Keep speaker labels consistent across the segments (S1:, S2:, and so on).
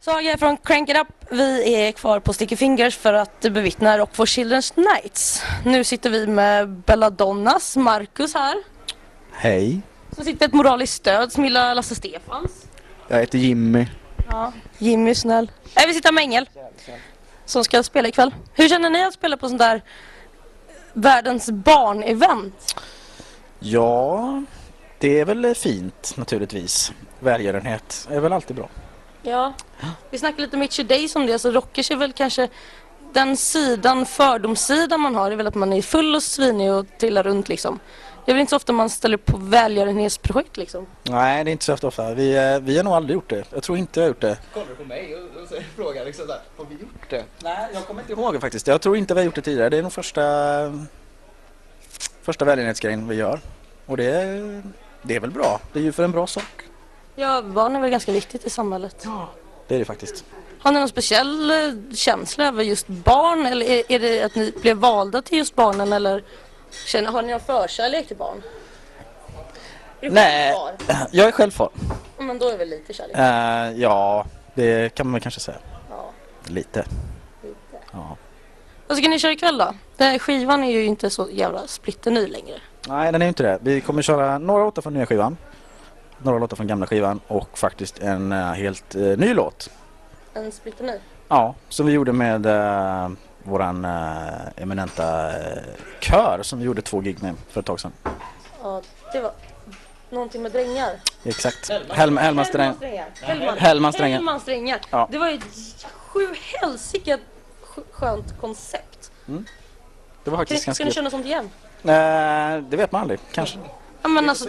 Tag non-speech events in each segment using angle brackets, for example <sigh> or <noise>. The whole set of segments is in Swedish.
S1: Saga från Crank It Up. Vi är kvar på Sticky Fingers för att bevittna Rock for Children's Nights. Nu sitter vi med Belladonnas Marcus här.
S2: Hej,
S1: Så sitter ett moraliskt stöd som gillar Lasse Stefans.
S2: jag heter Jimmy.
S1: Ja, Jimmy är snäll. Nej, Äh, vi sitter med Engel som ska spela ikväll. Hur känner ni att spela på sånt där världens barn-event?
S2: Ja, det är väl fint naturligtvis. Välgörenhet är väl alltid bra.
S1: Ja, vi snackade lite med Itchy Days om det, så rockers är väl kanske den sidan, fördomssidan man har, är väl att man är full och svinig och trillar runt liksom. Det är väl inte så ofta man ställer på välgörenhetsprojekt liksom.
S2: Nej, det är inte så ofta. Vi, eh, vi har nog aldrig gjort det. Jag tror inte jag har gjort det.
S3: kollar du på mig och, och så frågar liksom så här, har vi gjort det?
S2: Nej, jag kommer inte ihåg det faktiskt. Jag tror inte vi har gjort det tidigare. Det är nog första, första välgörenhetsgrejen vi gör. Och det, är- det är väl bra. Det är ju för en bra sak.
S1: Ja, barn är väl ganska viktigt i samhället.
S2: Det är det faktiskt.
S1: Har ni någon speciell eh, känsla över just barn eller är, är det att ni blev valda till just barnen eller känner, har ni någon förkärlek till barn? Är det
S2: Nej.
S1: självklart?
S2: Jag är själv far.
S1: Ja, Men då är det väl lite kärlek?
S2: Eh, ja, det kan man kanske säga.
S1: Ja.
S2: Lite.
S1: Vad ska ni köra ikväll då? Den här skivan är ju inte så jävla splitterny längre.
S2: Nej, den är ju inte det. Vi kommer köra några låtar från nya skivan, några låtar från gamla skivan och faktiskt en eh, helt eh, ny låt.
S1: En splitterny?
S2: Ja, som vi gjorde med eh, våran eh, eminenta eh, kör som vi gjorde två gig med för ett tag sedan.
S1: Ja, det var någonting med drängar.
S2: Exakt. Helm, Helman Sträng.
S1: Hellman.
S2: Hellman strängar.
S1: Hellman strängar.
S2: Ja.
S1: Det var ju ett sju helsike sj- skönt koncept.
S2: Det
S1: Ska,
S2: var faktiskt
S1: ska
S2: ganska
S1: ni
S2: kul.
S1: köra något sånt igen?
S2: Eh, det vet man aldrig, kanske.
S1: Ja men alltså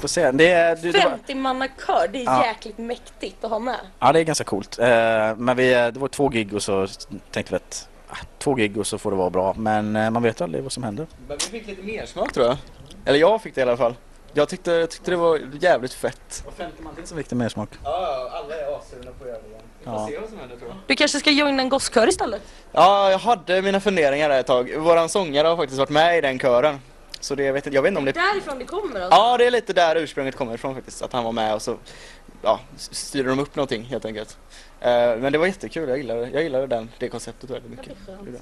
S2: Får se. Det är, du, det var,
S1: 50 mannakör, det är
S2: Ja.
S1: jäkligt mäktigt att ha med.
S2: ja, det är ganska coolt. Eh, men vi, eh, det var två gig och så tänkte vi att ah, två gig och så får det vara bra. Men eh, man vet aldrig vad som händer.
S3: Men vi fick lite mer smak tror jag. Eller jag fick det i alla fall. Jag tyckte, jag tyckte det var jävligt fett.
S2: Det är så viktigt med smak.
S3: Ja, alla är assugna på att göra det igen. Vi
S2: får Ja. se
S3: vad som händer tror jag.
S1: Du kanske ska joina en gosskör istället?
S3: Ja, jag hade mina funderingar där ett tag. Våran sångare har faktiskt varit med i den kören. Så det, jag, vet, inte- jag vet inte om det...
S1: Därifrån det kommer alltså?
S3: Ja, det är lite där ursprunget kommer ifrån faktiskt. Att han var med och så ja, s- styrde de upp någonting helt enkelt. Eh, men det var jättekul, jag gillade, jag gillade den, det konceptet väldigt mycket. Det är bra.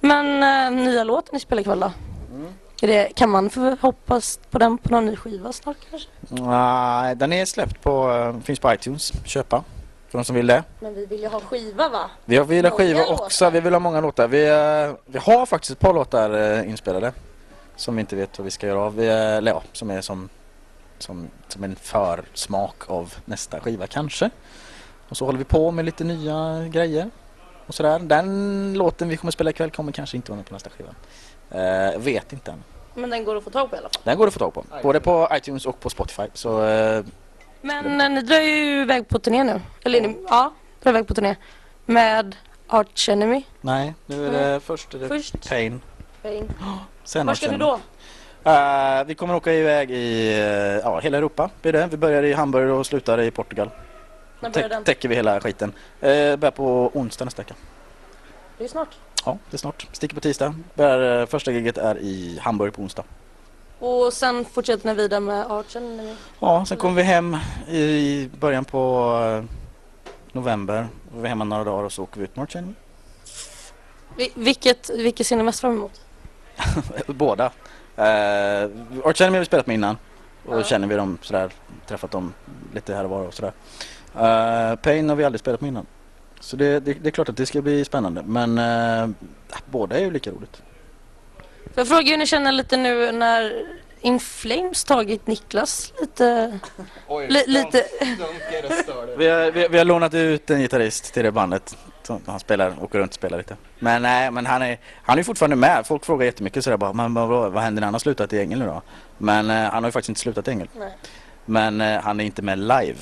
S1: Men eh, nya låten ni spelar ikväll då?
S2: Mm.
S1: Är det, kan man för, hoppas på den på någon ny skiva snart kanske?
S2: Nej, Ah, den är släppt på, eh, finns på iTunes, köpa. För de som vill det.
S1: Men vi vill ju ha skiva va?
S2: Vi har- vi vill ha
S1: Många
S2: skivor
S1: låtar.
S2: också, vi vill ha många låtar. Vi, eh, vi har faktiskt ett par låtar eh, inspelade. Som vi inte vet vad vi ska göra av, vi, eh, eller ja, som är som, som, som en försmak av nästa skiva kanske. Och så håller vi på med lite nya grejer. Och sådär. Den låten vi kommer spela ikväll kommer kanske inte vara med på nästa skiva. Eh, Jag vet inte än.
S1: Men den går att få tag på i alla fall.
S2: Den går det att få tag på. Både på iTunes och på Spotify. Så eh,
S1: Men eh, ni drar ju iväg på turné nu. Eller ni, ja, drar iväg på turné. Med Arch Enemy
S2: nej, nu är det först är det
S1: först.
S2: Pain.
S1: Pain.
S2: Sen
S1: Var ska
S2: Arch
S1: ni
S2: Enemy.
S1: då?
S2: Eh, vi kommer åka iväg i eh, ja, hela Europa. Blir det. Vi börjar i Hamburg och slutar i Portugal.
S1: När börjar
S2: Tä
S1: den?
S2: täcker vi hela skiten. Eh, börjar på onsdag nästa vecka.
S1: Det är snart.
S2: Ja, det är snart. Sticker på tisdag. Börjar, eh, första giget är i Hamburg på onsdag.
S1: Och sen fortsätter ni vidare med Arch Enemy.
S2: Ja, sen kommer vi hem i början på eh, november. Vi är hemma några dagar och så åker vi ut March Enemy.
S1: Vi, vilket, vilket ser ni mest fram emot?
S2: Båda. Uh, Arch Enemy har vi spelat med innan. Och
S1: Ja.
S2: känner vi dem sådär, träffat dem lite här och var och sådär. Eh, Pain har vi aldrig spelat med innan. Så det, det, det är klart att det ska bli spännande. Men eh, båda är ju lika roligt.
S1: Får jag fråga hur ni känner lite nu när In Flames tagit Niklas lite...
S3: Oj,
S1: Li- lite-
S3: dunkar och
S1: <laughs>
S3: stör det.
S2: Vi har, vi, vi har lånat ut en gitarrist till det bandet. Så Han spelar, åker runt och spelar lite. Men nej, men han är, han är ju fortfarande med. Folk frågar jättemycket sådär bara, men vad, vad händer när han har slutat i Ängel nu då? Men eh, han har ju faktiskt inte slutat i Ängel.
S1: Nej.
S2: Men eh, han är inte med live.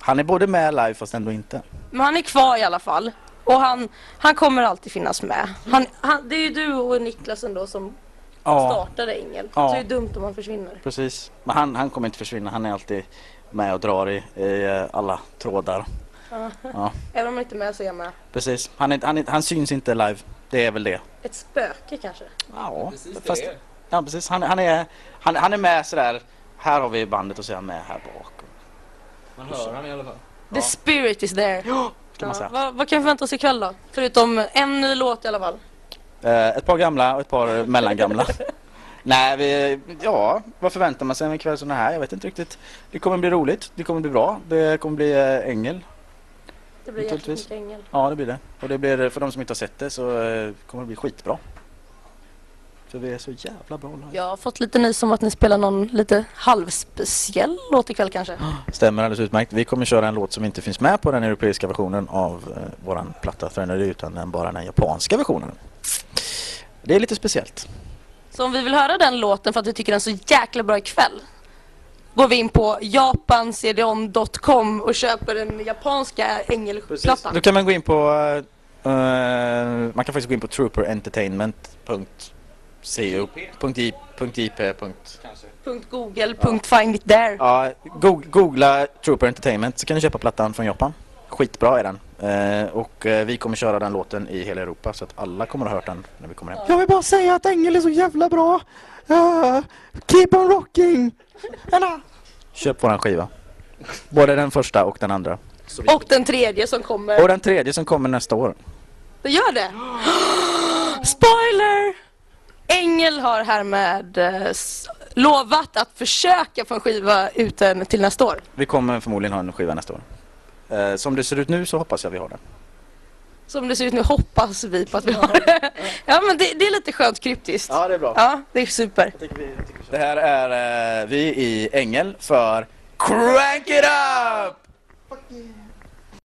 S2: Han är både med live fast ändå inte.
S1: Men han är kvar i alla fall. Och han, han kommer alltid finnas med. Han, han, det är ju du och Niklas ändå som startade Engel.
S2: Ja.
S1: Så det är ju dumt om han försvinner.
S2: Precis. Men han, han kommer inte försvinna. Han är alltid med och drar i, i eh, alla trådar.
S1: Även om han inte är med så är han med.
S2: Precis. Han, är, inte- han, är, inte- han syns inte live. Det är väl det.
S1: Ett spöke kanske.
S2: Ja,
S3: Precis det
S2: fast,
S3: är.
S2: ja, precis. Han, han, är, han, han är med sådär. Här har vi bandet och så är han med här bak.
S3: Man hör han i alla fall.
S1: The spirit is there.
S2: kan man
S1: Ja,
S2: säga.
S1: vad, vad kan vi förvänta oss ikväll då? Förutom en ny låt i alla fall.
S2: Eh, ett par gamla och ett par mellangamla. Nej, vi, ja, vad förväntar man sig av en kväll som den här? Jag vet inte riktigt. Det kommer bli roligt, det kommer bli bra, det kommer bli eh, ängel.
S1: Det blir jäkligt
S2: Naturligtvis.
S1: mycket ängel.
S2: Ja, det blir det. Och det blir, för de som inte har sett det så eh, kommer det bli skitbra. För vi är så jävla bra live.
S1: Jag har fått lite nys om att ni spelar någon lite halvspeciell låt ikväll kanske.
S2: Stämmer alldeles utmärkt. Vi kommer köra en låt som inte finns med på den europeiska versionen av eh, våran platta Threnody utan den, bara den japanska versionen. Det är lite speciellt.
S1: Så om vi vill höra den låten för att vi tycker den är så jäkla bra ikväll går vi in på japancdon.com och köper den japanska ängelplattan.
S2: Då kan man gå in på eh, eh, man kan faktiskt gå in på trooperentertainment.co.ip.
S3: Kanske.
S1: Punkt Google, punkt find it there.
S2: Ja, go- googla Trooper Entertainment så kan ni köpa plattan från Japan. Skitbra är den. Eh, och eh, vi kommer köra den låten i hela Europa så att alla kommer att ha hört den när vi kommer hem.
S4: Jag vill bara säga att Engel är så jävla bra. Ah, keep on rocking. Anna.
S2: Köp våran skiva. Både den första och den andra.
S1: Och den tredje som kommer.
S2: Och den tredje som kommer nästa år.
S1: Det gör det! <gasps> Spoiler! Engel har härmed eh, s- lovat att försöka få en skiva ut den till nästa år.
S2: Vi kommer förmodligen ha en skiva nästa år. Eh, som det ser ut nu så hoppas jag vi har den.
S1: Som det ser ut nu hoppas vi på att vi har det. <laughs> Ja men det, det är lite skönt kryptiskt.
S2: det är bra.
S1: Ja, det är super.
S2: Det här är eh, vi i Ängel för Crank It Up!